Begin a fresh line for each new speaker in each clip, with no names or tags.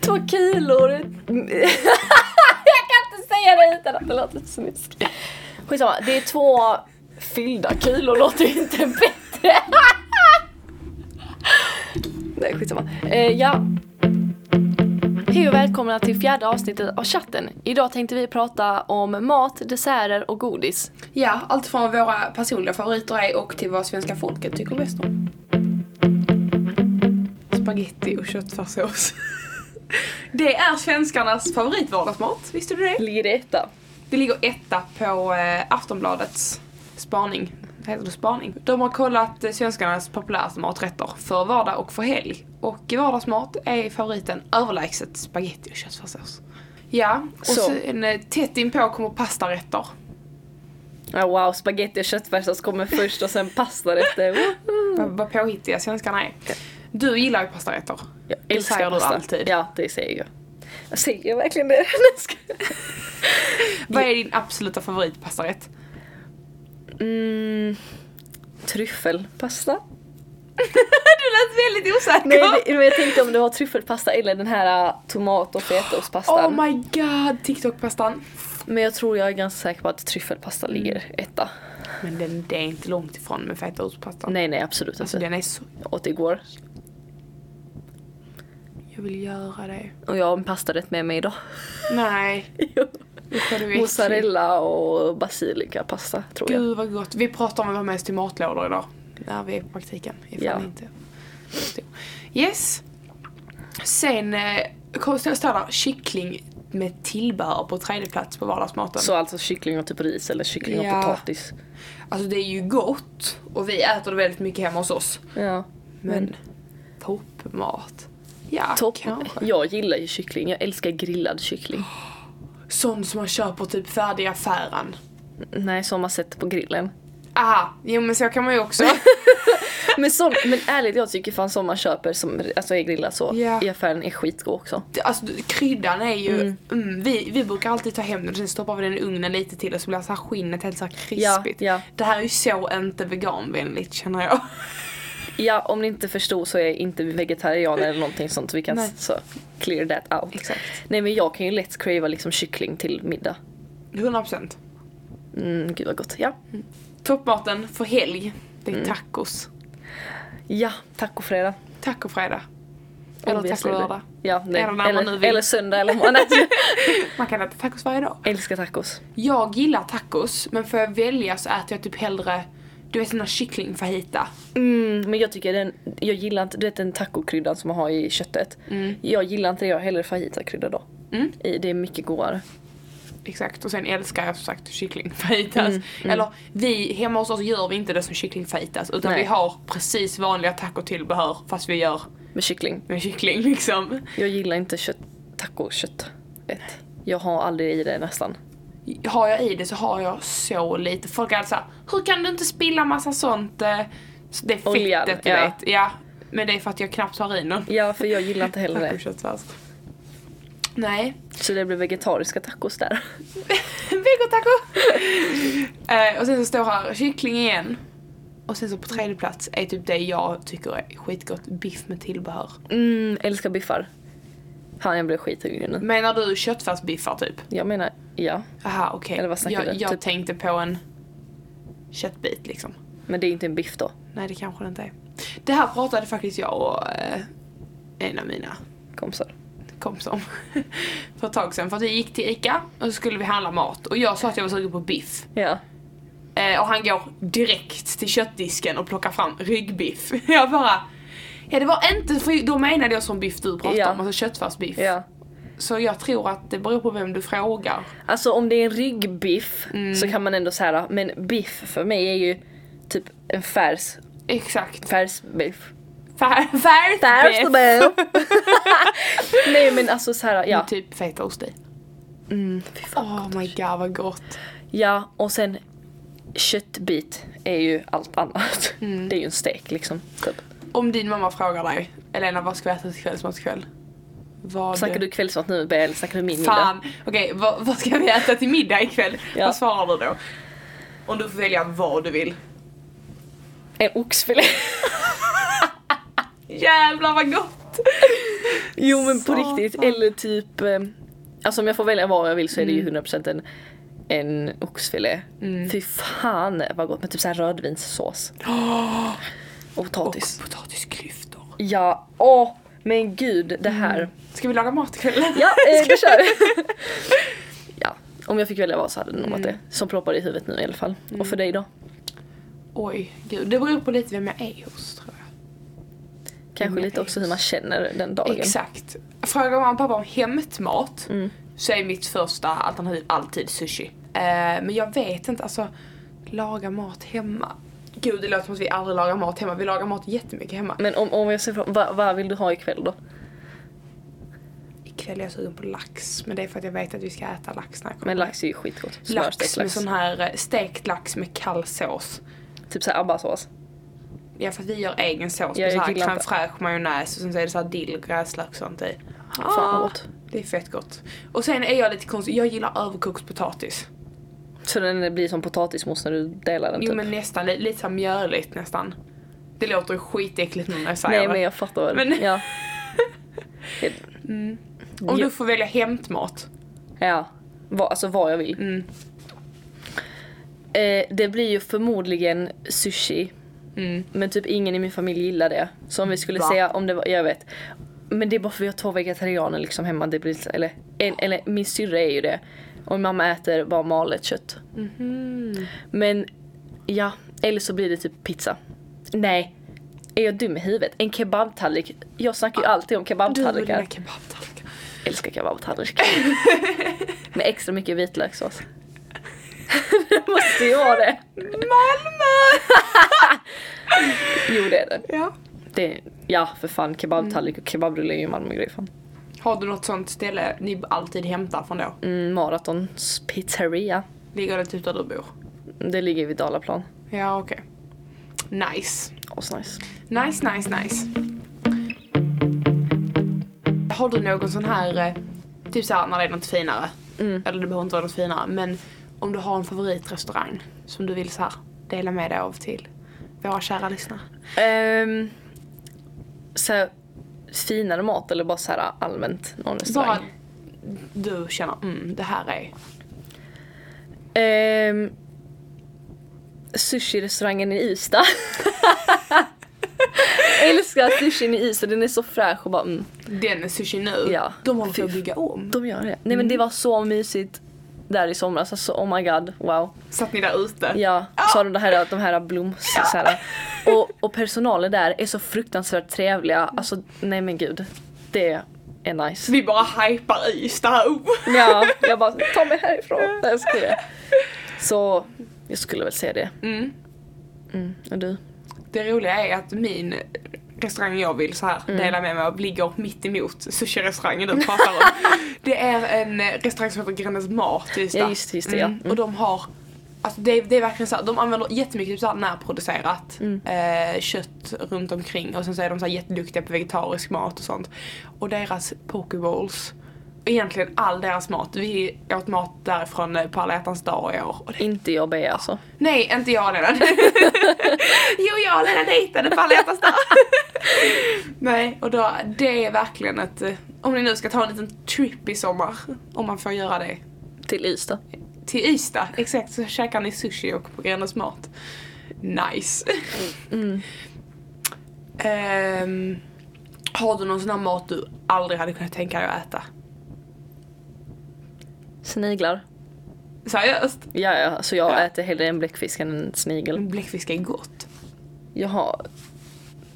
två kilo. Det- jag kan inte säga det utan att det låter snusk. Skitsamma, det är två fyllda kilo låter ju inte bättre. Nej, skitsamma. Eh, ja. Hej och välkomna till fjärde avsnittet av chatten. Idag tänkte vi prata om mat, desserter och godis.
Ja, allt från våra personliga favoriter är och till vad svenska folket tycker bäst om. Spaghetti och köttfärssås. Det är svenskarnas favoritvardagsmat, visste du det?
Ligger det etta?
Det ligger etta på eh, Aftonbladets spaning. Heter det spaning? De har kollat eh, svenskarnas populäraste maträtter för vardag och för helg. Och i vardagsmat är favoriten överlägset spaghetti och köttfärssås. Ja, och
Så.
sen eh, tätt inpå kommer pastarätter.
Ja, wow, spaghetti och köttfärssås kommer först och sen pasta efter.
Vad- Vad påhittiga svenskarna är. Du gillar ju pastarätter.
Jag
Det
älskar
säger du
pasta.
alltid.
Ja, det säger jag. Jag säger verkligen det. Nej, jag skojar.
Vad är din absoluta favoritpastarätt?
mm, tryffelpasta.
du lät väldigt osäker!
Nej, det, men jag tänkte om det var tryffelpasta eller den här äh, tomat och fetaostpastan.
oh my god, TikTok-pastan.
men jag tror jag är ganska säker på att tryffelpasta ligger etta.
Men den, det är inte långt ifrån med fetaostpastan.
Nej, nej, absolut
Alltså
inte.
den är så...
Jag åt igår.
Jag vill göra det.
Och jag har en pastarätt med mig idag.
Nej, usch vad du är äcklig.
Mozzarella och basilikapasta tror jag.
Gud vad gott. Vi pratar om att ha med oss till matlådor idag. När vi är på praktiken. Ifall
Ja.
ni inte förstod. Yes. Sen eh, kom- står står där kyckling med tillbehör på tredje plats på vardagsmaten.
Så alltså kyckling och typ ris eller kyckling
Ja.
och potatis.
Alltså det är ju gott och vi äter det väldigt mycket hemma hos oss.
Ja.
Men toppmat. Ja,
Topp.
kanske.
Jag gillar ju kyckling. Jag älskar grillad kyckling.
Sån som man köper typ färdig i affären.
Nej, som man sätter på grillen.
Aha, jo men så kan man ju också.
Men, sån, men ärligt, jag tycker fan som man köper som alltså är grillad så
Ja.
i affären är skitgod också.
Det- alltså kryddan är ju,
Mm.
mm. vi, vi brukar alltid ta hem den och sen stoppar vi den i ugnen lite till och så blir så här skinnet helt så här
Ja,
krispigt.
ja.
Det här är ju så inte veganvänligt känner jag.
ja, om ni inte förstod så är jag inte vegetarian eller någonting sånt. Vi kan
Nej.
så clear that out.
Exakt.
Nej men jag kan ju lätt crava liksom kyckling till middag.
100%.
Mm, gud vad gott. Ja,
Toppmaten för helg, det är tacos.
ja tacofredag.
Tacofredag.
Om
Eller
vi släpper.
tacolördag.
Ja, nej.
Eller när man nu
Eller,
vill.
eller söndag eller måndag.
Man kan äta tacos varje dag.
Älskar tacos.
Jag gillar tacos, men får jag välja så äter jag typ hellre, du vet sån här kycklingfajita.
Mm, men jag tycker den, jag gillar inte, du vet den tacokryddan som man har i köttet. Jag gillar inte det, jag har hellre fajitakrydda då.
Mm.
I, det är mycket godare.
Exakt, och sen älskar jag som sagt kycklingfajitas.
Mm,
Eller vi, hemma hos oss gör vi inte det som kycklingfajitas utan
Nej.
vi har precis vanliga tacotillbehör fast vi gör
Med kyckling.
med kyckling liksom.
Jag gillar inte kött, tacokött. Ett. Jag har aldrig i det nästan.
Har jag i det så har jag så lite. Folk är alltid såhär, hur kan du inte spilla massa sånt? eh, så Det fettet
Oljan,
du
ja.
vet. Ja. Men det är för att jag knappt har i någon
Ja, för jag gillar inte heller det.
tacoköttfärs. Nej,
Så det blir vegetariska tacos där.
Vegotaco! uh, och sen så står här kyckling igen. Och sen så på tredje plats är typ det jag tycker är skitgott, biff med tillbehör.
Mm, älskar biffar. Han jag blev skithungrig nu.
Menar du köttfärsbiffar typ?
Jag menar, ja.
Aha okej.
Eller vad snackar
Jag,
du?
jag
Typ-
tänkte på en köttbit liksom.
Men det är inte en biff då.
Nej det kanske det inte är. Det här pratade faktiskt jag och eh, en av mina
Kompisar.
kompisar om för ett tag sedan. För att vi gick till Ica och så skulle vi handla mat. Och jag sa att jag var sugen på biff.
Ja.
Eh, och han går direkt till köttdisken och plockar fram ryggbiff. Jag bara... Ja det var inte, för då menade jag som biff du pratade
Ja.
om, alltså köttfärsbiff.
ja.
Så jag tror att det beror på vem du frågar.
Alltså om det är en ryggbiff så kan man ändå säga men biff för mig är ju typ en färs,
Exakt.
färsbiff.
Fär- Färsbiff!
Färsbiff! Nej men alltså så här, ja.
Med typ fetaost i.
Mm.
Oh my god vad gott.
Ja och sen köttbit är ju allt annat. Det är ju en stek liksom. Typ.
Om din mamma frågar dig, Elena vad ska vi äta till kvällsmat ikväll? Vad...
Snackar du kvällsmat nu Bea eller snackar du min middag?
Fan, okej vad, vad ska vi äta till middag ikväll?
Ja.
Vad svarar du då? Om du får välja vad du vill.
En oxfilé.
Jävlar vad gott!
Jo men på
Satan.
riktigt, eller typ eh, Alltså om jag får välja vad jag vill så är det ju 100% en, en oxfilé. Fy fan vad gott med typ så här rödvinssås. Och
Och
potatis.
potatisklyftor.
Ja, åh men gud det här.
Ska vi laga mat ikväll?
Mm. Ja, eh, då kör vi. ja, om jag fick välja vad så hade det nog varit det. Som ploppar i huvudet nu i alla fall. Och för dig då?
Oj, gud. Det beror på lite vem jag är hos tror jag.
Kanske
Mm.
lite också hur man känner den dagen.
Exakt. Frågar man pappa om hämtmat
Mm.
så är mitt första alternativ alltid sushi. Eh, men jag vet inte, alltså laga mat hemma. Gud det låter som att vi aldrig lagar mat hemma. Vi lagar mat jättemycket hemma.
Men om, om jag ser från, vad, vad vill du ha ikväll då?
Ikväll är jag sugen på lax men det är för att jag vet att vi ska äta lax när jag kommer.
Men lax är ju skitgott.
Lax
Smörstekt
med
lax.
sån här eh, stekt lax med kall sås.
Typ såhär abbasås.
Ja för att vi gör egen sås
Ja,
med
jag
såhär
gillar
crème
inte.
fraîche, majonnäs och sen så är det såhär dill och gräslök och sånt i. Ah,
Fan vad gott.
Det är fett gott. Och sen är jag lite konstig, jag gillar överkokt potatis.
Så den blir som potatismos när du delar den
Jo
typ?
men nästan, li- lite såhär mjöligt nästan. Det låter ju skitäckligt nu när jag säger
Nej men jag fattar väl.
Men- Mm.
Ja.
det. Om du får välja hämtmat.
ja. Va, alltså vad jag vill.
Mm.
Eh, det blir ju förmodligen sushi.
Mm.
Men typ ingen i min familj gillar det. Så om vi skulle
Va?
säga om det var, jag vet. Men det är bara för vi har två vegetarianer liksom hemma. Det blir, så- eller, en, eller min syrra är ju det. Och min mamma äter bara malet kött. Mm, Men ja, eller så blir det typ pizza. Nej, är jag dum i huvudet? En kebabtallrik. Jag snackar ju alltid om
Ah, Du och dina
kebabtallrikar.
kebabtallrikar.
Älskar kebabtallrik. Med extra mycket vitlökssås. det måste ju vara det.
Malmö!
Jo det är det.
Ja.
det ja för fan kebabtallrik och kebabrulle är ju en Malmögrej fan.
Har du något sånt ställe ni alltid hämtar från då?
Mm, Maratons pizzeria.
Ligger det typ där du bor?
Det ligger vid Dalaplan.
Ja okej. Nice.
Asnice.
Nice, nice, nice. Har du någon sån här, eh, typ såhär när det är något finare,
Mm.
eller det behöver inte vara något finare, men om du har en favoritrestaurang som du vill så här dela med dig av till våra kära lyssnare?
Um, så här, finare mat eller bara så här allmänt någon restaurang?
Bara du känner, mm, det här är...
Ehm, Sushi-restaurangen i Ystad. Älskar sushin i Ystad, den är så fräsch och bara mm,
Den sushi nu,
Ja,
de håller på att
fy-
bygga om.
de gör det. Nej men det var så mysigt där i somras, alltså oh my god, wow.
Satt ni där ute?
Ja, sa de, det här, de här bloms... Så här. Och, och personalen där är så fruktansvärt trevliga, alltså nej men gud. Det är nice.
Vi bara hypar Ystad, oh.
Ja, jag bara ta mig härifrån. Nej, jag skojar. Så jag skulle väl säga det.
Mm.
Mm, och du?
Det roliga är att min restaurang jag vill så här
Mm.
dela med mig av ligger mitt emot sushi-restaurangen du pratar om. det är en eh, restaurang som heter Grännes Mat i Ystad.
Ja, just det, just det, ja. Mm.
Och de har Alltså det, är- det är verkligen så här, de använder jättemycket typ så här närproducerat
Mm.
eh, kött runt omkring och sen så är de så här jätteduktiga på vegetarisk mat och sånt. Och deras pokeballs, egentligen all deras mat, vi åt mat därifrån eh, på alla hjärtans dag i år och det
Inte jag Bea alltså.
Nej, inte jag Lena. jo, jag och Lena dejtade på alla hjärtans dag. Nej, och då, det är verkligen ett... eh, Om ni nu ska ta en liten trip i sommar, om man får göra det,
Till Ystad.
till Ystad, exakt, så käkar ni sushi och på Gränges Mat. Nice. Mm. Ehm, har du någon sån här mat du aldrig hade kunnat tänka dig att äta?
Sniglar.
Seriöst?
Ja, ja, alltså jag
Ja.
äter hellre en bläckfisk än en snigel.
Bläckfisk är gott.
Jag har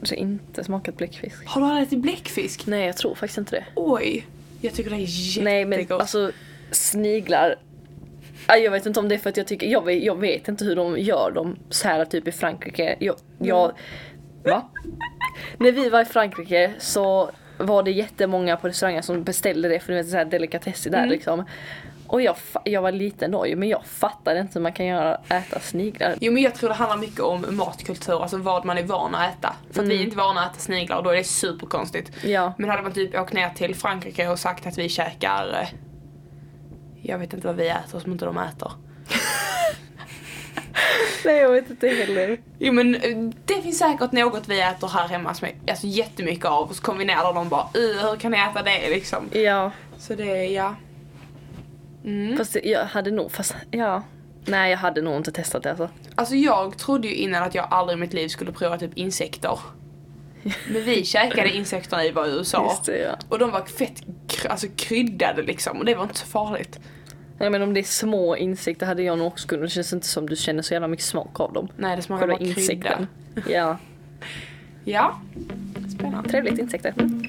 alltså inte smakat bläckfisk.
Har du aldrig ätit bläckfisk?
Nej, jag tror faktiskt inte det.
Oj! Jag tycker det är jättegott.
Nej, men alltså sniglar. Ja, Jag vet inte om det är för att jag tycker, jag vet, jag vet inte hur de gör dem så här typ i Frankrike. Jag, jag, va? När vi var i Frankrike så var det jättemånga på restauranger som beställde det för det var så här delikatesser där liksom. Och jag, fa- jag var lite nojig men jag fattade inte hur man kan göra, äta sniglar.
Jo men jag tror det handlar mycket om matkultur, alltså vad man är van att äta. För att vi är inte vana att äta sniglar och då är det superkonstigt.
Ja.
Men hade man typ åkt ner till Frankrike och sagt att vi käkar... eh, Jag vet inte vad vi äter som inte de äter.
Nej jag vet inte heller.
Jo men eh, det finns säkert något vi äter här hemma som är alltså, jättemycket av och så kombinerar de bara "Uh, hur kan ni äta det liksom.
Ja,
Så det är ja. Mm.
fast jag hade nog, fast ja. Nej jag hade nog inte testat det alltså.
Alltså jag trodde ju innan att jag aldrig i mitt liv skulle prova typ insekter. Men vi käkade insekterna i var i USA.
Just det, ja.
Och de var fett kr- alltså, kryddade liksom och det var inte så farligt.
Nej men om det är små insekter hade jag nog också kunnat. Det känns inte som du känner så jävla mycket smak av dem.
Nej det smakade
Själva
bara krydda.
insekten. Ja,
Ja. Spännande.
trevligt insekter.
Mm.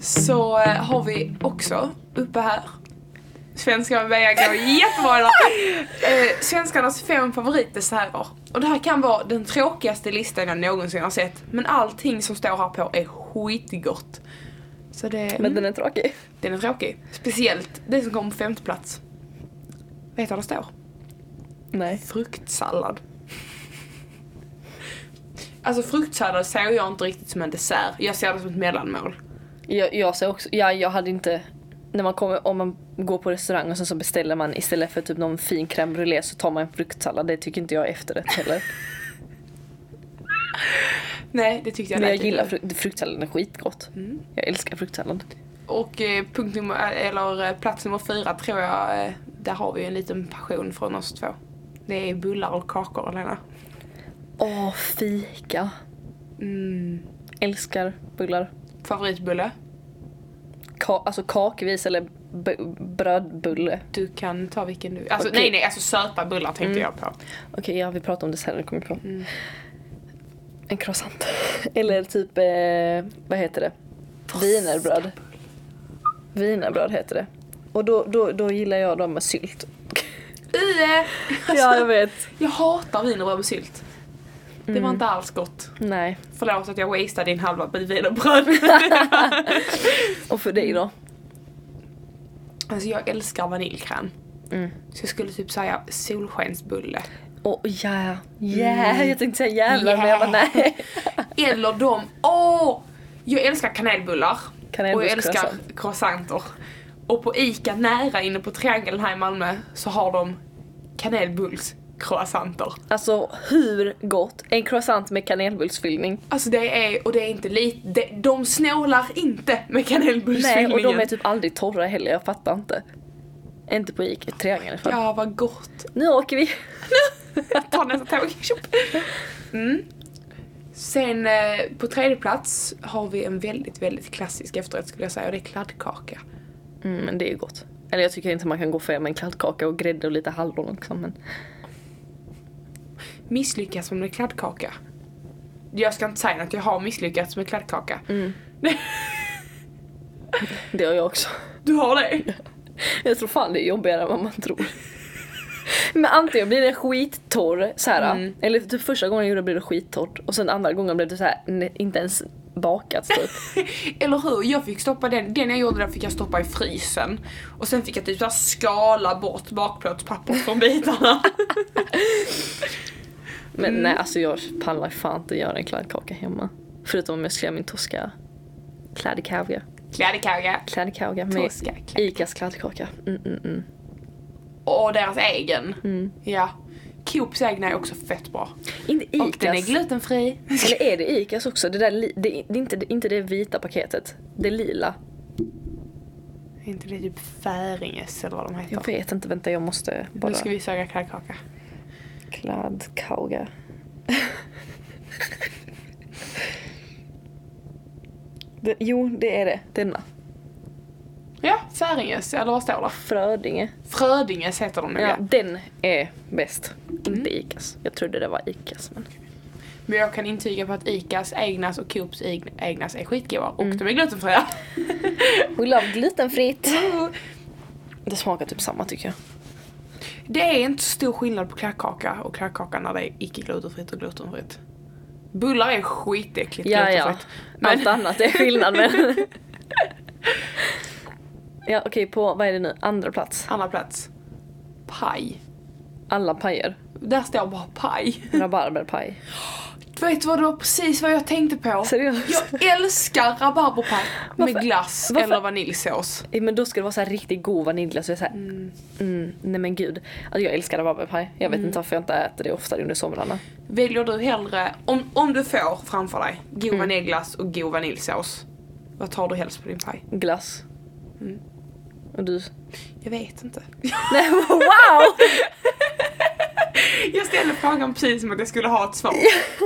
Så eh, har vi också uppe här. Svenskarna börjar gå jättebra idag. Eh, svenskarnas fem favoritdesserter. Och det här kan vara den tråkigaste listan jag någonsin har sett. Men allting som står här på är skitgott. Så det...
Men den är tråkig.
Den är tråkig. Speciellt det som kom på femte plats. Vet du vad det står?
Nej.
Fruktsallad. Alltså fruktsallad ser jag inte riktigt som en dessert. Jag ser det som ett mellanmål.
Jag, jag ser också, ja jag hade inte, när man kommer, om man går på restaurang och sen så beställer man istället för typ någon fin crème brûlée så tar man en fruktsallad. Det tycker inte jag är efterrätt heller.
Nej, det tyckte jag
Men jag
lät lite-
gillar fru- fruktsalladen, är skitgott.
Mm.
Jag älskar fruktsallad.
Och eh, punkt nummer, eller eh, plats nummer fyra tror jag, eh, där har vi ju en liten passion från oss två. Det är bullar och kakor, Lena.
Åh, fika.
Mm.
Älskar bullar.
Favoritbulle?
Ka- alltså kakvis eller b- brödbulle.
Du kan ta vilken du Alltså
Okej.
nej, nej, alltså söta bullar tänkte jag på.
Okej, ja vi pratar om det sen, det kommer jag på. En croissant. Eller typ, eh, vad heter det? Wienerbröd. Wienerbröd heter det. Och då, då, då gillar jag dem med sylt.
Ie!
ja, jag vet.
Alltså, Jag hatar wienerbröd med sylt. Det var inte alls gott.
Nej.
Förlåt att jag wasteade din halva bit wienerbröd.
Och för dig då?
alltså jag älskar vaniljkräm.
Mm.
Så jag skulle typ säga solskensbulle.
Åh, ja. Yeah, jag tänkte säga jävlar men jag
Yeah.
bara nej.
Eller de, åh! jag älskar kanelbullar. Och jag älskar
Kanelbullscroissant.
croissanter. Och på ICA nära inne på Triangeln här i Malmö så har de kanelbullscroissanter.
Alltså hur gott? En croissant med kanelbullsfyllning.
Alltså det är, och det är inte lite, de, de snålar inte med
Nej,
kanelbullsfyllningen.
och de är typ aldrig torra heller, jag fattar inte. Inte på Ica, Triangeln i alla fall.
Ja, vad gott.
Nu åker vi!
Ta nästa tåg. Tjopp. Mm. Sen eh, på tredje plats har vi en väldigt, väldigt klassisk efterrätt skulle jag säga och det är kladdkaka.
Mm, men det är ju gott. Eller jag tycker inte man kan gå fel med en kladdkaka och grädde och lite hallon också men
Misslyckas man med kladdkaka? Jag ska inte säga att jag har misslyckats med kladdkaka.
det har jag också.
Du har det?
Jag tror fan det är jobbigare än vad man tror. Men antingen blir det skittorr såhär,
Mm.
eller typ första gången jag gjorde det blev det skittorrt och sen andra gången blev det såhär ne- inte ens bakat typ.
Mm. Eller hur? Jag fick stoppa den, den jag gjorde där fick jag stoppa i frysen. Och sen fick jag typ så här skala bort bakplåtspapper från bitarna.
Men nej alltså jag pallar fan inte göra en kladdkaka hemma. Förutom om jag ska göra min toska kladdkaka.
Kladdkaka.
Kladdkaka med
Toska. kladd-
Icas kladdkaka. Mm, mm, mm.
Och deras egen.
Mm.
Ja. Coops egna är också fett bra.
Inte Icas.
Och den är glutenfri.
Eller är det Icas också? Det där, li- det, det, är inte, det, inte det vita paketet. Det lila.
Är inte det typ Färinges eller vad de heter?
Jag vet inte, vänta jag måste bara...
Nu ska vi söka kladdkaka.
Kladdkauga. det, jo, det är det. Denna.
Ja, Färinges, eller vad står det?
Frödinge.
Frödinges heter de nog
Ja, Mm.
ja.
den är bäst. Inte Icas. Jag trodde det var Icas. Men...
Men jag kan intyga på att Icas egnas och Coops eg- egnas är skitgoda och
Mm.
de är glutenfria.
We love glutenfritt. Det smakar typ samma tycker jag.
Det är inte så stor skillnad på kladdkaka och kladdkaka när det är icke glutenfritt och glutenfritt. Bullar är skitäckligt
Ja, ja.
glutenfritt.
Allt annat är skillnad men... ja, okej på, vad är det nu? Andra plats.
Andra plats. Paj.
Alla pajer.
Där står bara paj.
Rabarberpaj.
Vet du vad det var precis vad jag tänkte på?
Seriöst?
Jag älskar rabarberpaj med
Varför-
glass
varför-
eller vaniljsås.
Eh, Men då ska det vara så här riktigt god vaniljglass. Så jag är så här, mm. nej men gud. Alltså jag älskar rabarberpaj. Jag vet inte varför jag inte äter det oftare under somrarna.
Väljer du hellre, om, om du får framför dig, god vaniljglass och god vaniljsås. Vad tar du helst på din paj?
Glass. Och du?
Jag vet inte.
Mm. Nej, wow!
Jag ställde frågan precis som att jag skulle ha ett svar.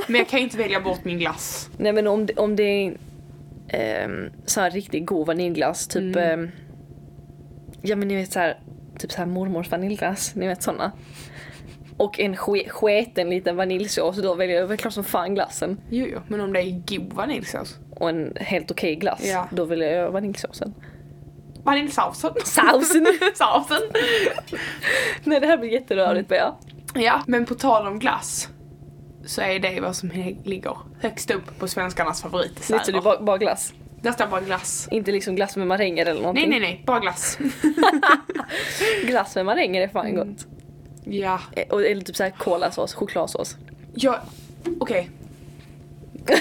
Men jag kan ju inte välja bort min glass.
Nej men om det, om det är ehm, så här riktigt god vaniljglass, typ ehm, Ja men ni vet så här, typ så här mormors vaniljglass, ni vet såna. Och en ske- sketen liten vaniljsås, då väljer jag väl klart som fan glassen.
Jo, jo, men om det är god vaniljsås.
Och en helt okej glass,
Ja.
då väljer jag vaniljsåsen.
Vaniljsausen.
Sausen!
Sausen.
Nej det här blir jätterörigt Bea.
Mm. Ja, men på tal om glass. Så är det vad som ligger högst upp på svenskarnas
Lite du
favoritdesserter.
bara, bara glass.
Där står bara glass.
Inte liksom glass med maränger eller någonting.
Nej, nej, nej, bara glass.
Glass med maränger är
Mm.
fan gott.
ja,
Eh, Och, eller typ såhär kolasås, chokladsås.
jag... Okej.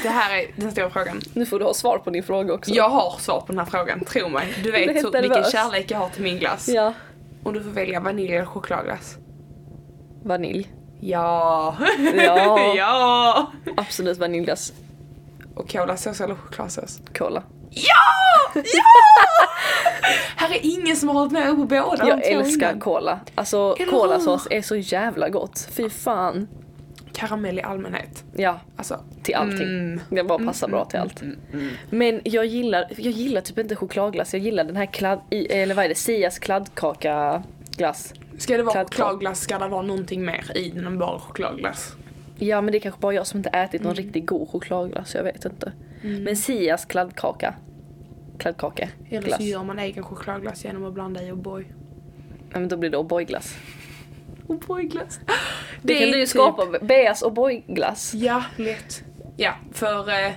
Det här är den stora frågan.
Nu får du ha svar på din fråga också.
Jag har svar på den här frågan, tro mig. Du
blir
vet
helt
hur, vilken
nervös.
kärlek jag har till min glass.
ja.
Om du får välja vanilj eller chokladglass.
Vanilj.
Ja.
Ja.
ja.
Absolut vaniljglass.
Och kolasås eller chokladsås?
Cola.
Ja! Ja! Här är ingen som har hållit med på båda.
Jag älskar cola. Alltså
Eller hur?
kolasås är så jävla gott. Fy fan.
karamell i allmänhet.
Ja,
Alltså,
till allting.
Mm.
Det bara passar bra till allt. Men jag gillar, jag gillar typ inte chokladglass. Jag gillar den här kladd, i- eller vad är det, Sias kladdkaka glass.
ska det vara
Kladd-
chokladglass ska det vara någonting mer i den än bara chokladglass.
Ja men det är kanske bara jag som inte ätit
Mm.
någon riktigt god chokladglass, jag vet inte. Men Sias kladdkaka. Kladdkaka.
Eller
glass.
så gör man egen chokladglass genom att blanda i O'boy.
Ja, men då blir det O'boy-glass.
O'boy-glass.
Det, kan du
typ-
ju skapa, Beas O'boy-glass.
Ja, lätt. Ja, för eh,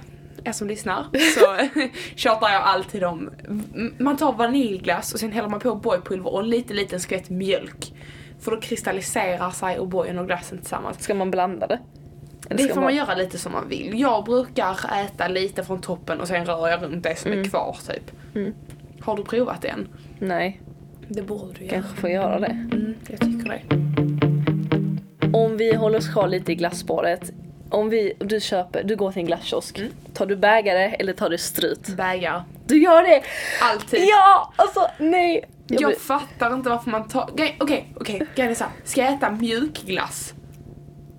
er som lyssnar så tjatar jag alltid om... m- Man tar vaniljglass och sen häller man på O'boypulver och en liten, liten skvätt mjölk. För då kristalliserar sig O'boyen och glassen tillsammans.
Ska man blanda det? Eller
Det
ska
får man göra lite som man vill. Jag brukar äta lite från toppen och sen rör jag runt det som är kvar typ. Har du provat det än?
Nej,
Det borde du göra.
kanske får göra det.
Mm, jag tycker det.
Om vi håller oss kvar lite i glasspåret. Om vi, du köper, du går till en glasskiosk. Tar du bägare eller tar du strut?
Bägare.
Mm. Du gör det!
Alltid.
Ja! Alltså nej! Jag
Jag
blir-
fattar inte varför man tar... Grej- Okej, okej. Grejen är såhär. Ska jag äta mjukglass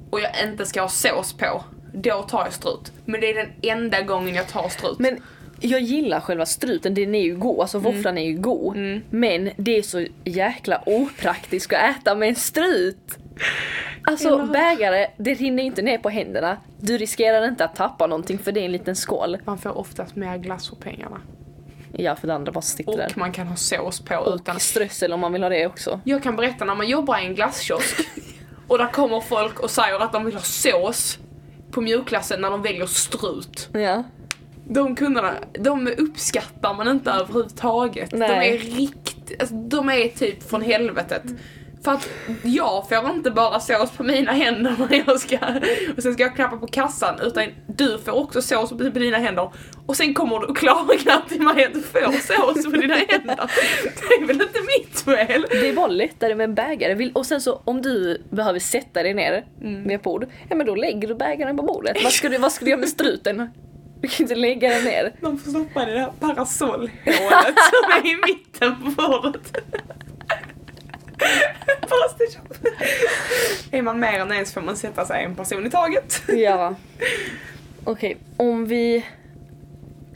och jag inte ska ha sås på, då tar jag strut. Men det är den enda gången jag tar strut.
Men jag gillar själva struten, den är ju god, alltså våfflan är ju god. Men det är så jäkla opraktiskt att äta med en strut. Alltså
Eller hur?
bägare, det rinner inte ner på händerna. Du riskerar inte att tappa någonting för det är en liten skål.
man får oftast mer glass för pengarna.
Ja för det andra bara sitter
Och
där.
man kan ha sås på utan...
Och strössel om man vill ha det också.
Jag kan berätta när man jobbar i en glasskiosk och där kommer folk och säger att de vill ha sås på mjukglassen när de väljer strut.
Ja.
De kunderna, de uppskattar man inte överhuvudtaget.
Nej.
De är rikt, alltså, de är typ från helvetet. För att jag får inte bara sås på mina händer när jag ska, och sen ska jag klappa på kassan, utan du får också sås på dina händer. Och sen kommer du och klagar till mig att du får sås på dina händer. Det är väl inte mitt fel?
Det är bara lättare med en bägare. Vill- Och sen så om du behöver sätta dig ner vid ett bord, ja men då lägger du bägaren på bordet. Vad ska du, vad ska du göra med struten? Du kan inte lägga den ner.
De får stoppa i det här parasollhålet som är i mitten på bordet. Parasollshop. Är man mer än en så får man sätta sig en person i taget.
Ja. Okej, om vi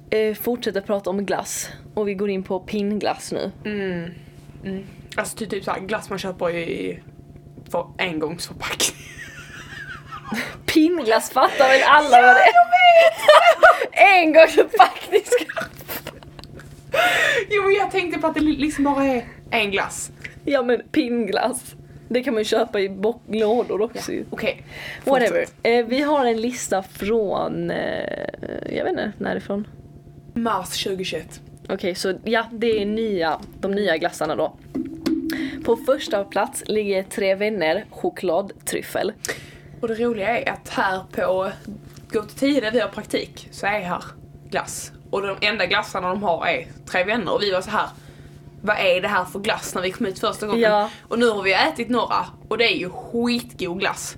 eh, fortsätter prata om glass och vi går in på pinnglass nu.
Mm. Mm. Alltså typ, typ såhär glass man köper i för engångsförpackning.
Pinnglass fattar väl alla vad det är? en gång så faktiskt.
Jo men jag tänkte på att det liksom bara är en glass.
Ja men pinnglass. Det kan man ju köpa i bock- lådor också ju.
Okej.
Whatever.
fortsätt.
Eh, vi har en lista från, eh, jag vet inte närifrån.
Mars 2021.
Okej, så ja, det är nya, de nya glassarna då. På första plats ligger Tre Vänner chokladtryffel.
Och det roliga är att här på gå till tio där vi har praktik så är här glass. Och de enda glassarna de har är Tre Vänner och vi var så här. Vad är det här för glass när vi kom ut första gången?
Ja.
Och nu har vi ätit några och det är ju skitgod glass.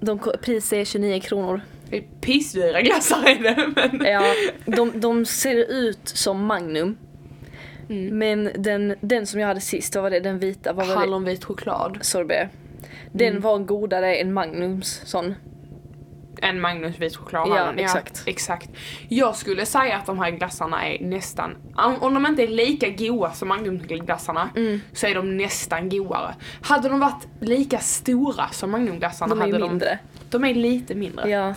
De, ko- priset är 29 kronor.
Det är pissdyra glassar är det men...
Ja, de, de ser ut som Magnum.
Mm.
Men den, den som jag hade sist, vad var det? Den vita? Vad var det?
Hallonvit choklad.
Sorbet. Den
Mm.
var godare än Magnums sån.
En Magnus vit choklad.
Ja,
hallon.
exakt.
exakt. Jag skulle säga att de här glassarna är nästan, om om de inte är lika goa som Magnumglassarna
Mm.
så är de nästan godare. Hade de varit lika stora som Magnumglassarna
De är ju
hade
mindre.
de, de är lite mindre.
Ja.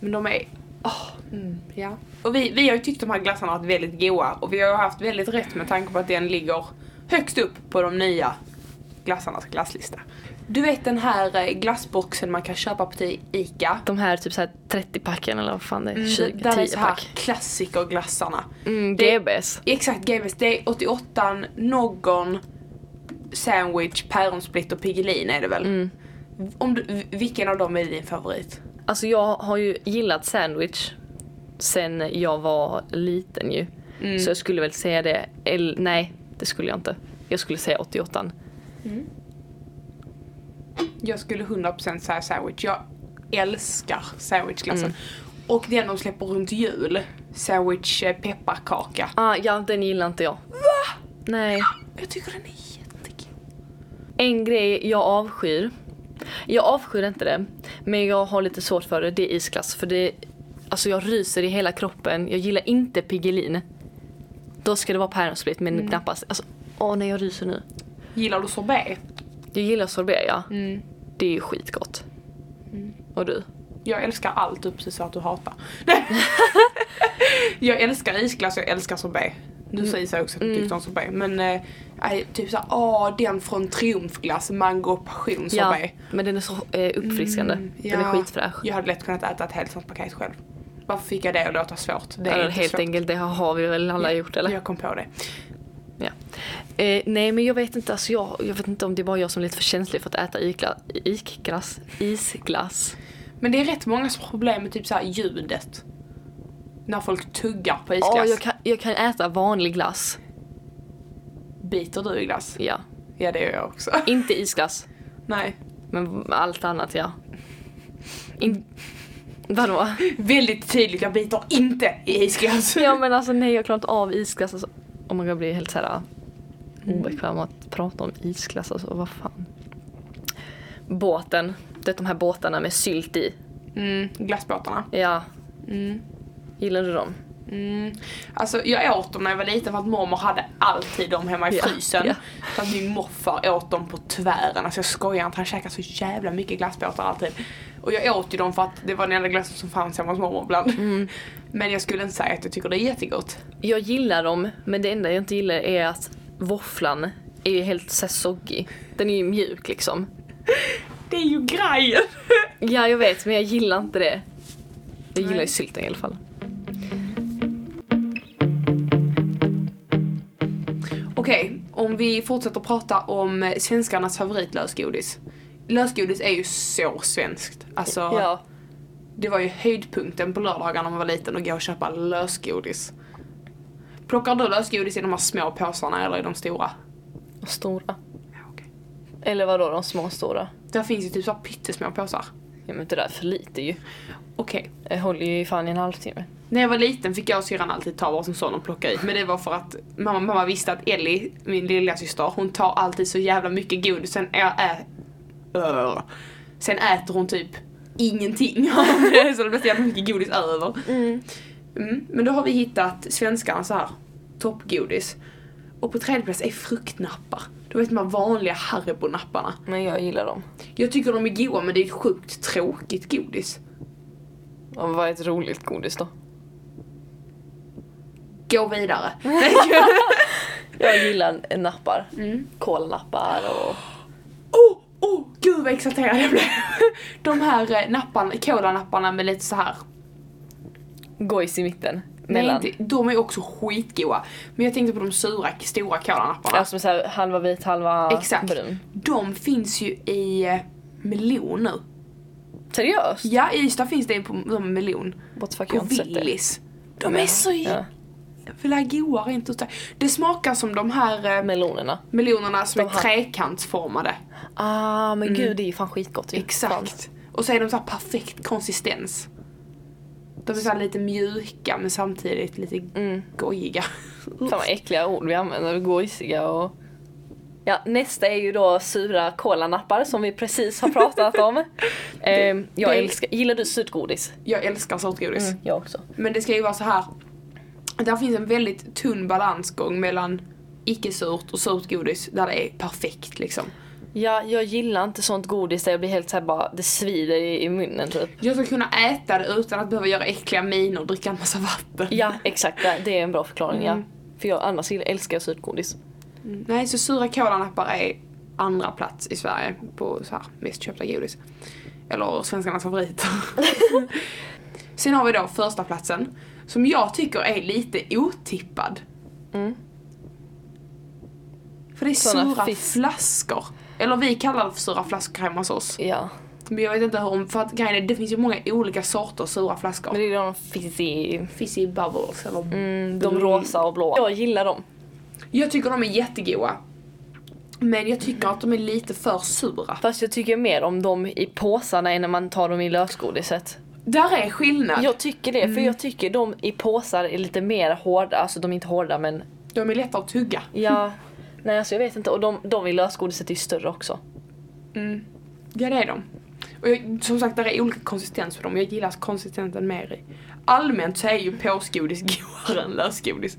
Men de är, åh, mm, ja. Och vi, vi har ju tyckt de här glassarna har varit väldigt goa och vi har ju haft väldigt rätt med tanke på att den ligger högst upp på de nya glassarnas glasslista. Du vet den här eh, glassboxen man kan köpa på till ICA?
De här typ såhär 30-packen eller vad fan det är? 20,
Mm, där är så här
10-pack.
klassikerglassarna.
Mm,
det-
GBs.
Exakt, GBs. Det är 88 någon sandwich, päronsplit och Piggelin är det väl?
Mm.
Om du, vilken av dem är din favorit?
Alltså jag har ju gillat sandwich sen jag var liten ju. Så jag skulle väl säga det, eller nej det skulle jag inte. Jag skulle säga 88
Jag skulle 100% säga sandwich. Jag älskar sandwichglassen.
Mm.
Och den de släpper runt jul. Sandwich eh, pepparkaka.
ah, Ja den gillar inte jag. Va? Nej.
Jag tycker den är jättegod.
En grej jag avskyr. Jag avskyr inte det. Men jag har lite svårt för det. Det är isglass. För det, alltså jag ryser i hela kroppen. Jag gillar inte Piggelin. Då ska det vara päronsplit men knappast. Alltså, åh nej jag ryser nu.
Gillar du sorbet?
Jag gillar sorbet ja. Det är ju skitgott. Och du?
Jag älskar allt du precis sa att du hatar. Nej. jag älskar isglass, jag älskar sorbet. Du
Mm.
säger så också att du tyckte om sorbet. Men eh, nej, typ såhär, åh den från Triumfglass, mango och passion
Ja,
sorbet.
men den är så eh, uppfriskande. Den är
Mm, ja.
skitfräsch.
Jag hade lätt kunnat äta ett helt sånt paket själv. Varför fick jag det att låta svårt? Det är
eller
inte
helt
svårt.
enkelt, det har vi väl alla gjort eller?
Jag kom på det.
Ja. Eh, nej men jag vet inte, alltså jag, jag vet inte om det är bara jag som är lite för känslig för att äta ikla, ikglass, isglass.
Men det är rätt många som har problem med typ så här ljudet. När folk tuggar på
Ja,
isglass.
jag, kan, jag kan äta vanlig glass.
Biter du i glass?
Ja.
Ja, det gör jag också.
Inte isglass,
Nej.
men allt annat ja. In... Vadå?
Väldigt tydligt, jag biter inte i isglass.
Ja men alltså nej jag klarar inte av isglass alltså. Oh my god jag blir helt såhär
Mm.
obekväm att prata om isglass alltså, vad fan. Båten, det är de här båtarna med sylt i.
Mm, glassbåtarna.
Ja,
Mm.
gillar du dem?
Mm. Alltså jag åt dem när jag var liten för att mormor hade alltid dem hemma i
Ja,
frysen.
ja.
Så att min morfar åt dem på tvären. Alltså jag skojar inte, han käkar så jävla mycket glassbåtar alltid. Och jag åt ju dem för att det var den enda glassen som fanns hemma hos mormor ibland. Men jag skulle inte säga att jag tycker det är jättegott.
Jag gillar dem men det enda jag inte gillar är att våfflan är ju helt såhär soggig. Den är ju mjuk liksom.
Det är ju grejen!
Ja jag vet men jag gillar inte det. Jag gillar ju
Nej.
sylten i alla fall.
Okej, om vi fortsätter prata om svenskarnas favoritlösgodis. Lösgodis är ju så svenskt. Alltså,
Ja.
det var ju höjdpunkten på lördagarna när man var liten och gå och köpa lösgodis. Plockar du lösgodis i de här små påsarna eller i de stora?
Och stora.
Ja, okej.
Eller vadå de små och stora?
Där finns ju typ så här pyttesmå påsar.
Ja men det där är för lite ju.
Okej.
Jag håller ju fan i en halvtimme.
När jag var liten fick jag och syrran alltid ta vad som sån och plocka i. Men det var för att mamma, mamma visste att Ellie, min lilla syster, hon tar alltid så jävla mycket godis. Sen, ä, ä, ö. sen äter hon typ ingenting av det. Så det blir så jävla mycket godis över. Mm, men då har vi hittat svenskarna så här toppgodis. Och på tredje plats är fruktnappar. Du vet de här vanliga Haribo-napparna.
Men jag gillar dem.
Jag tycker de är goda men det är ett sjukt tråkigt godis.
Ja, men vad är ett roligt godis då?
Gå vidare.
Jag gillar nappar.
Mm.
Kolanappar och...
Oh, oh, gud vad exalterad jag blev. De här eh, napparna, kolanapparna med lite så här.
Gojs i mitten.
Nej,
Mellan.
inte, de är också skitgoda. Men jag tänkte på de sura, stora kolanapparna.
Ja, som är så här, halva vit, halva
Exakt.
brun.
De finns ju i eh, melon nu.
Seriöst?
Ja, i Ystad finns det en på de med melon.
What the fuck, jag
På
har inte sett det.
Willys. De är så
Ja.
jävla goa rent ut sagt. Det smakar som de här eh,
Melonerna.
melonerna som
De
är
här.
trekantsformade.
Ah men gud det är ju fan skitgott ju. Fan.
Exakt. Och så är de så här perfekt konsistens. De är så här lite mjuka men samtidigt lite
Mm.
gojiga.
Fan vad äckliga ord vi använder, gojsiga och... Ja, nästa är ju då sura kolanappar som vi precis har pratat om. Ehm, jag
det-
älskar, gillar du surt godis?
Jag älskar sortgodis.
Jag också.
Men det ska ju vara så här. Där finns en väldigt tunn balansgång mellan icke-surt och surt godis där det är perfekt liksom.
Ja, jag gillar inte sånt godis där jag blir helt såhär bara, det svider i, i munnen typ.
Jag ska kunna äta det utan att behöva göra äckliga miner och dricka en massa vatten.
Ja, exakt. det- Det är en bra förklaring
Mm.
ja. För jag annars gillar- älskar jag surt godis.
Mm. Nej, så sura kolanappar är andra plats i Sverige på så här, mest köpta godis. Eller svenskarnas favoriter. Sen har vi då första platsen som jag tycker är lite otippad.
Mm.
För det är
Såna
sura
fisk-
flaskor. Eller vi kallar det för sura flaskor hemma hos oss.
Ja.
Men jag vet inte hur om, för att grejen är, det finns ju många olika sorters sura flaskor.
Men det är de fizzy,
Fizzy bubbles eller...
mm, de rosa och blåa. Jag gillar dem.
Jag tycker de är jättegoda. Men jag tycker att de är lite för sura.
Fast jag tycker mer om dem i påsarna än när man tar dem i lösgodiset.
Där är skillnad.
Jag tycker det, för jag tycker de i påsar är lite mer hårda, alltså de är inte hårda men
De är lättare att tugga.
ja. Nej alltså jag vet inte, och de, de i lösgodiset är ju större också.
Mm. Ja det är de. Och jag, som sagt där är olika konsistens för dem. Jag gillar konsistensen mer i. Allmänt så är ju påsgodis godare än lösgodis.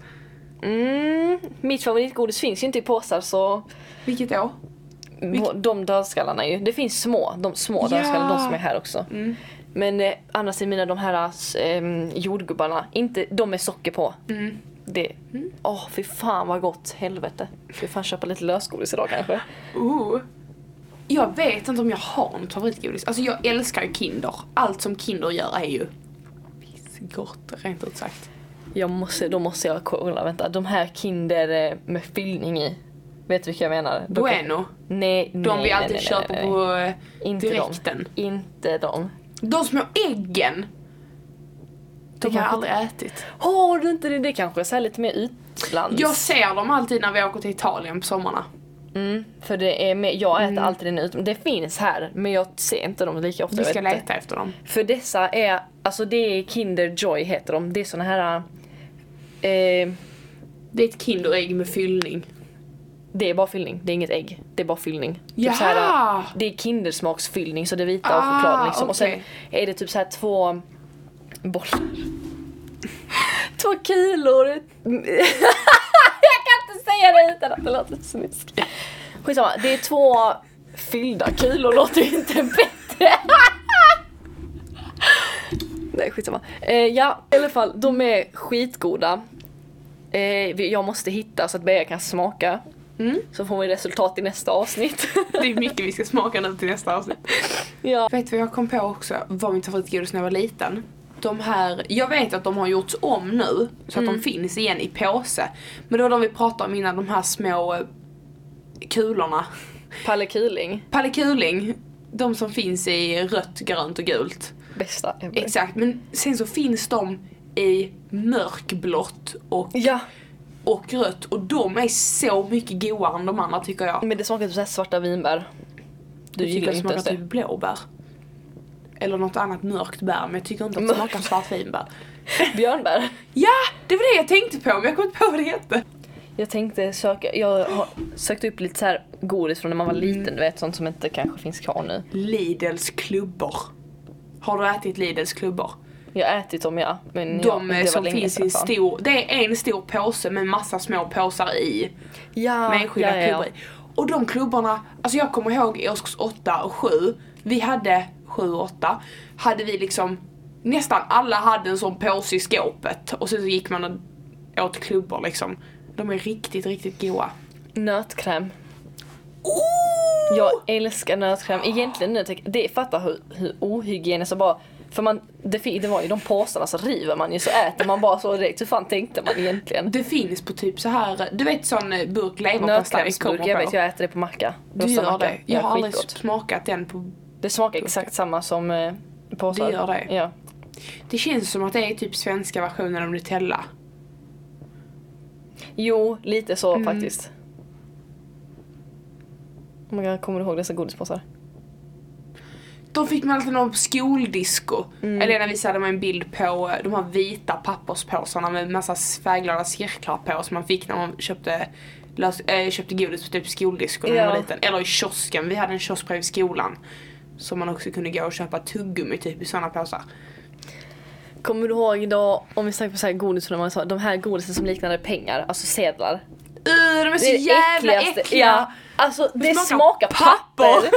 Mm, mitt favoritgodis finns ju inte i påsar så
Vilket då?
de dödskallarna ju. Det finns små, de små
Ja.
dödskallarna, de som är här också.
Mm.
Men eh, annars är mina de här eh, jordgubbarna, inte de med socker på.
Mm.
Det, åh fy fan vad gott, helvete. Ska vi fan köpa lite lösgodis idag kanske?
Oh. Jag vet inte om jag har något favoritgodis. Alltså jag älskar ju Kinder. Allt som Kinder gör är ju gott rent ut sagt.
Jag måste, då måste jag kolla, vänta. De här Kinder eh, med fyllning i. Vet du vilka jag menar? De-
Bueno.
Nej, nej,
De vi alltid
nej, nej,
köper
nej, nej.
på eh,
Inte
direkten.
De. Inte de.
De små äggen! De har jag
kanske-
aldrig ätit.
Har du inte det? Det kanske är så här lite mer utlands.
Jag ser dem alltid när vi åker till Italien på sommarna.
Mm, för det är mer, jag äter alltid den utom. Det finns här men jag ser inte dem lika ofta.
Mm.
jag
Vi ska
vet inte.
leta efter dem.
För dessa är, alltså det är Kinder Joy heter de. Det är såna här... Eh,
Det är ett Kinderägg med fyllning. Typ
det är bara fyllning, det är inget ägg. Det är bara fyllning. Typ
Jaha!
så här, det är kindersmaksfyllning så det är vita och
Ah,
choklad liksom. Och sen
okej.
är det typ så här två bollar. två kilor. Jag kan inte säga det utan att det låter snusk. Skitsamma, det är två fyllda kilor låter ju inte bättre. Nej skitsamma. Eh, ja, i alla fall de är skitgoda. Eh, vi- jag måste hitta så att Bea kan smaka.
Mm.
Så får vi resultat i nästa avsnitt.
Det är mycket vi ska smaka nu till nästa avsnitt.
ja.
Vet du vad jag kom på också var mitt favoritgodis när jag var liten? De här, jag vet att de har gjorts om nu så att de finns igen i påse. Men då de vi pratade om innan, de här små eh, kulorna.
Palle Kyling,
Palle Kuling, de som finns i rött, grönt och gult.
bästa ever.
Exakt, men sen så finns de i mörkblått och,
Ja,
och rött och de är så mycket godare än de andra tycker jag.
men det smakar typ såhär svarta vinbär. Du
jag tycker
gillar
det
inte
smakar
ens
typ
det.
blåbär. Eller något annat mörkt bär, men jag tycker inte att det
Mörkt.
smakar svartvinbär.
typ Björnbär.
Ja, det var det jag tänkte på, men jag kommer inte på vad det hette.
Jag tänkte söka, jag har sökt upp lite så här godis från när man var liten, du vet sånt som inte kanske finns kvar nu.
Lidls klubbor. Har du ätit Lidls klubbor?
Jag har ätit dem ja, men ja,
De eh, som finns i en stor, det är en stor påse med massa små påsar i.
ja,
med
ja,
enskilda
ja, ja.
klubbor i. Och de klubborna, alltså jag kommer ihåg i årskurs 8 och 7, vi hade 7 och 8, hade vi liksom nästan alla hade en sån påse i skåpet och sen så gick man och åt klubbor liksom. De är riktigt, riktigt goa.
Nötkräm.
Oh!
Jag älskar nötkräm. Egentligen nu, tänker- det fattar hur, hur ohygieniskt och bara för man, det, fin- det var ju de påsarna så river man ju så äter man bara så direkt. Hur fan tänkte man egentligen?
Det finns på typ så här, du vet sån eh, burk leverpastej kommer
Nötkrämsburk, jag
på.
vet jag äter det på macka.
Du
Rostad
gör
macka.
det. Jag har aldrig
skitgott.
smakat den på
Det smakar exakt samma som eh, påsar.
Det gör det.
Ja.
Det känns som att det är typ svenska versionen av Nutella.
Jo, lite så faktiskt. Oh my god, kommer du ihåg dessa godispåsar?
De fick man alltid någon på skoldisco.
Mm.
Elena visade mig en bild på eh, de här vita papperspåsarna med massa färgglada cirklar på som man fick när man köpte, lös, äh, köpte godis på typ skoldisco när man var
Ja.
liten. Eller i kiosken, vi hade en kiosk bredvid skolan. Som man också kunde gå och köpa tuggummi typ i sådana påsar.
Kommer du ihåg då, om vi snackar på så här godis, när man sa de här godisen som liknade pengar, alltså sedlar.
Uh, de är så jävla äckliga!
Ja, alltså det, smakar, papper!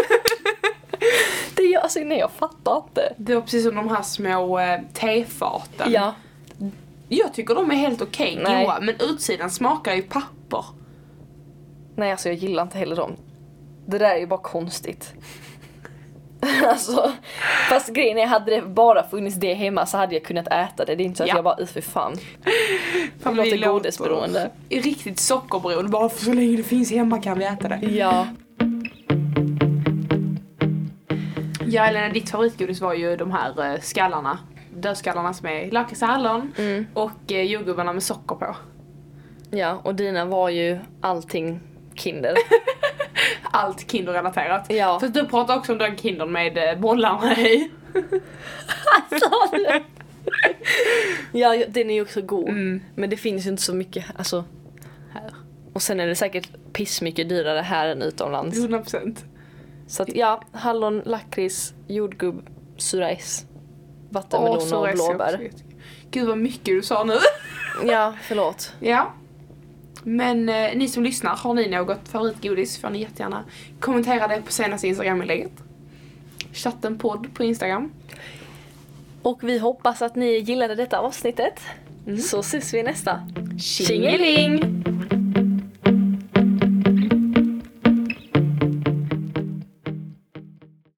det gör, alltså nej jag fattar inte.
Det var precis som de här små eh, tefaten.
Ja,
Jag tycker de är helt okej
Nej.
goda men utsidan smakar ju papper.
nej alltså jag gillar inte heller dem. Det där är ju bara konstigt. alltså, fast grejen är, hade det bara funnits det hemma så hade jag kunnat äta det. Det är inte så att
Ja.
jag bara, "Uy, för fan.
Fan,
Det
vi
låter godisberoende.
är Riktigt sockerberoende, bara för så länge det finns hemma kan vi äta det.
Ja.
Ja Elena, ditt favoritgodis var ju de här eh, skallarna. Dödskallarna som är lakrits och hallon
Mm.
och eh, jordgubbarna med socker på.
Ja, och dina var ju allting Kinder.
Allt kinderrelaterat.
Ja.
För du pratade också om den kindern med eh, bollarna i.
ja, ju- den är ju också god.
Mm.
Men det finns ju inte så mycket, alltså.
Här.
Och sen är det säkert pissmycket dyrare här än utomlands.
100%.
Så att ja, hallon, lakrits, jordgubb, surais,
Åh,
vattenmelon
så
och
är det så
blåbär.
gott. Gud vad mycket du sa nu.
Ja, förlåt.
Ja. Men eh, ni som lyssnar, har ni något favoritgodis får ni jättegärna kommentera det på senaste Instagram-inlägget. Chattenpodd på Instagram.
Och vi
Mm.
hoppas att ni gillade detta avsnittet. Så ses vi i nästa.
Tjingeling!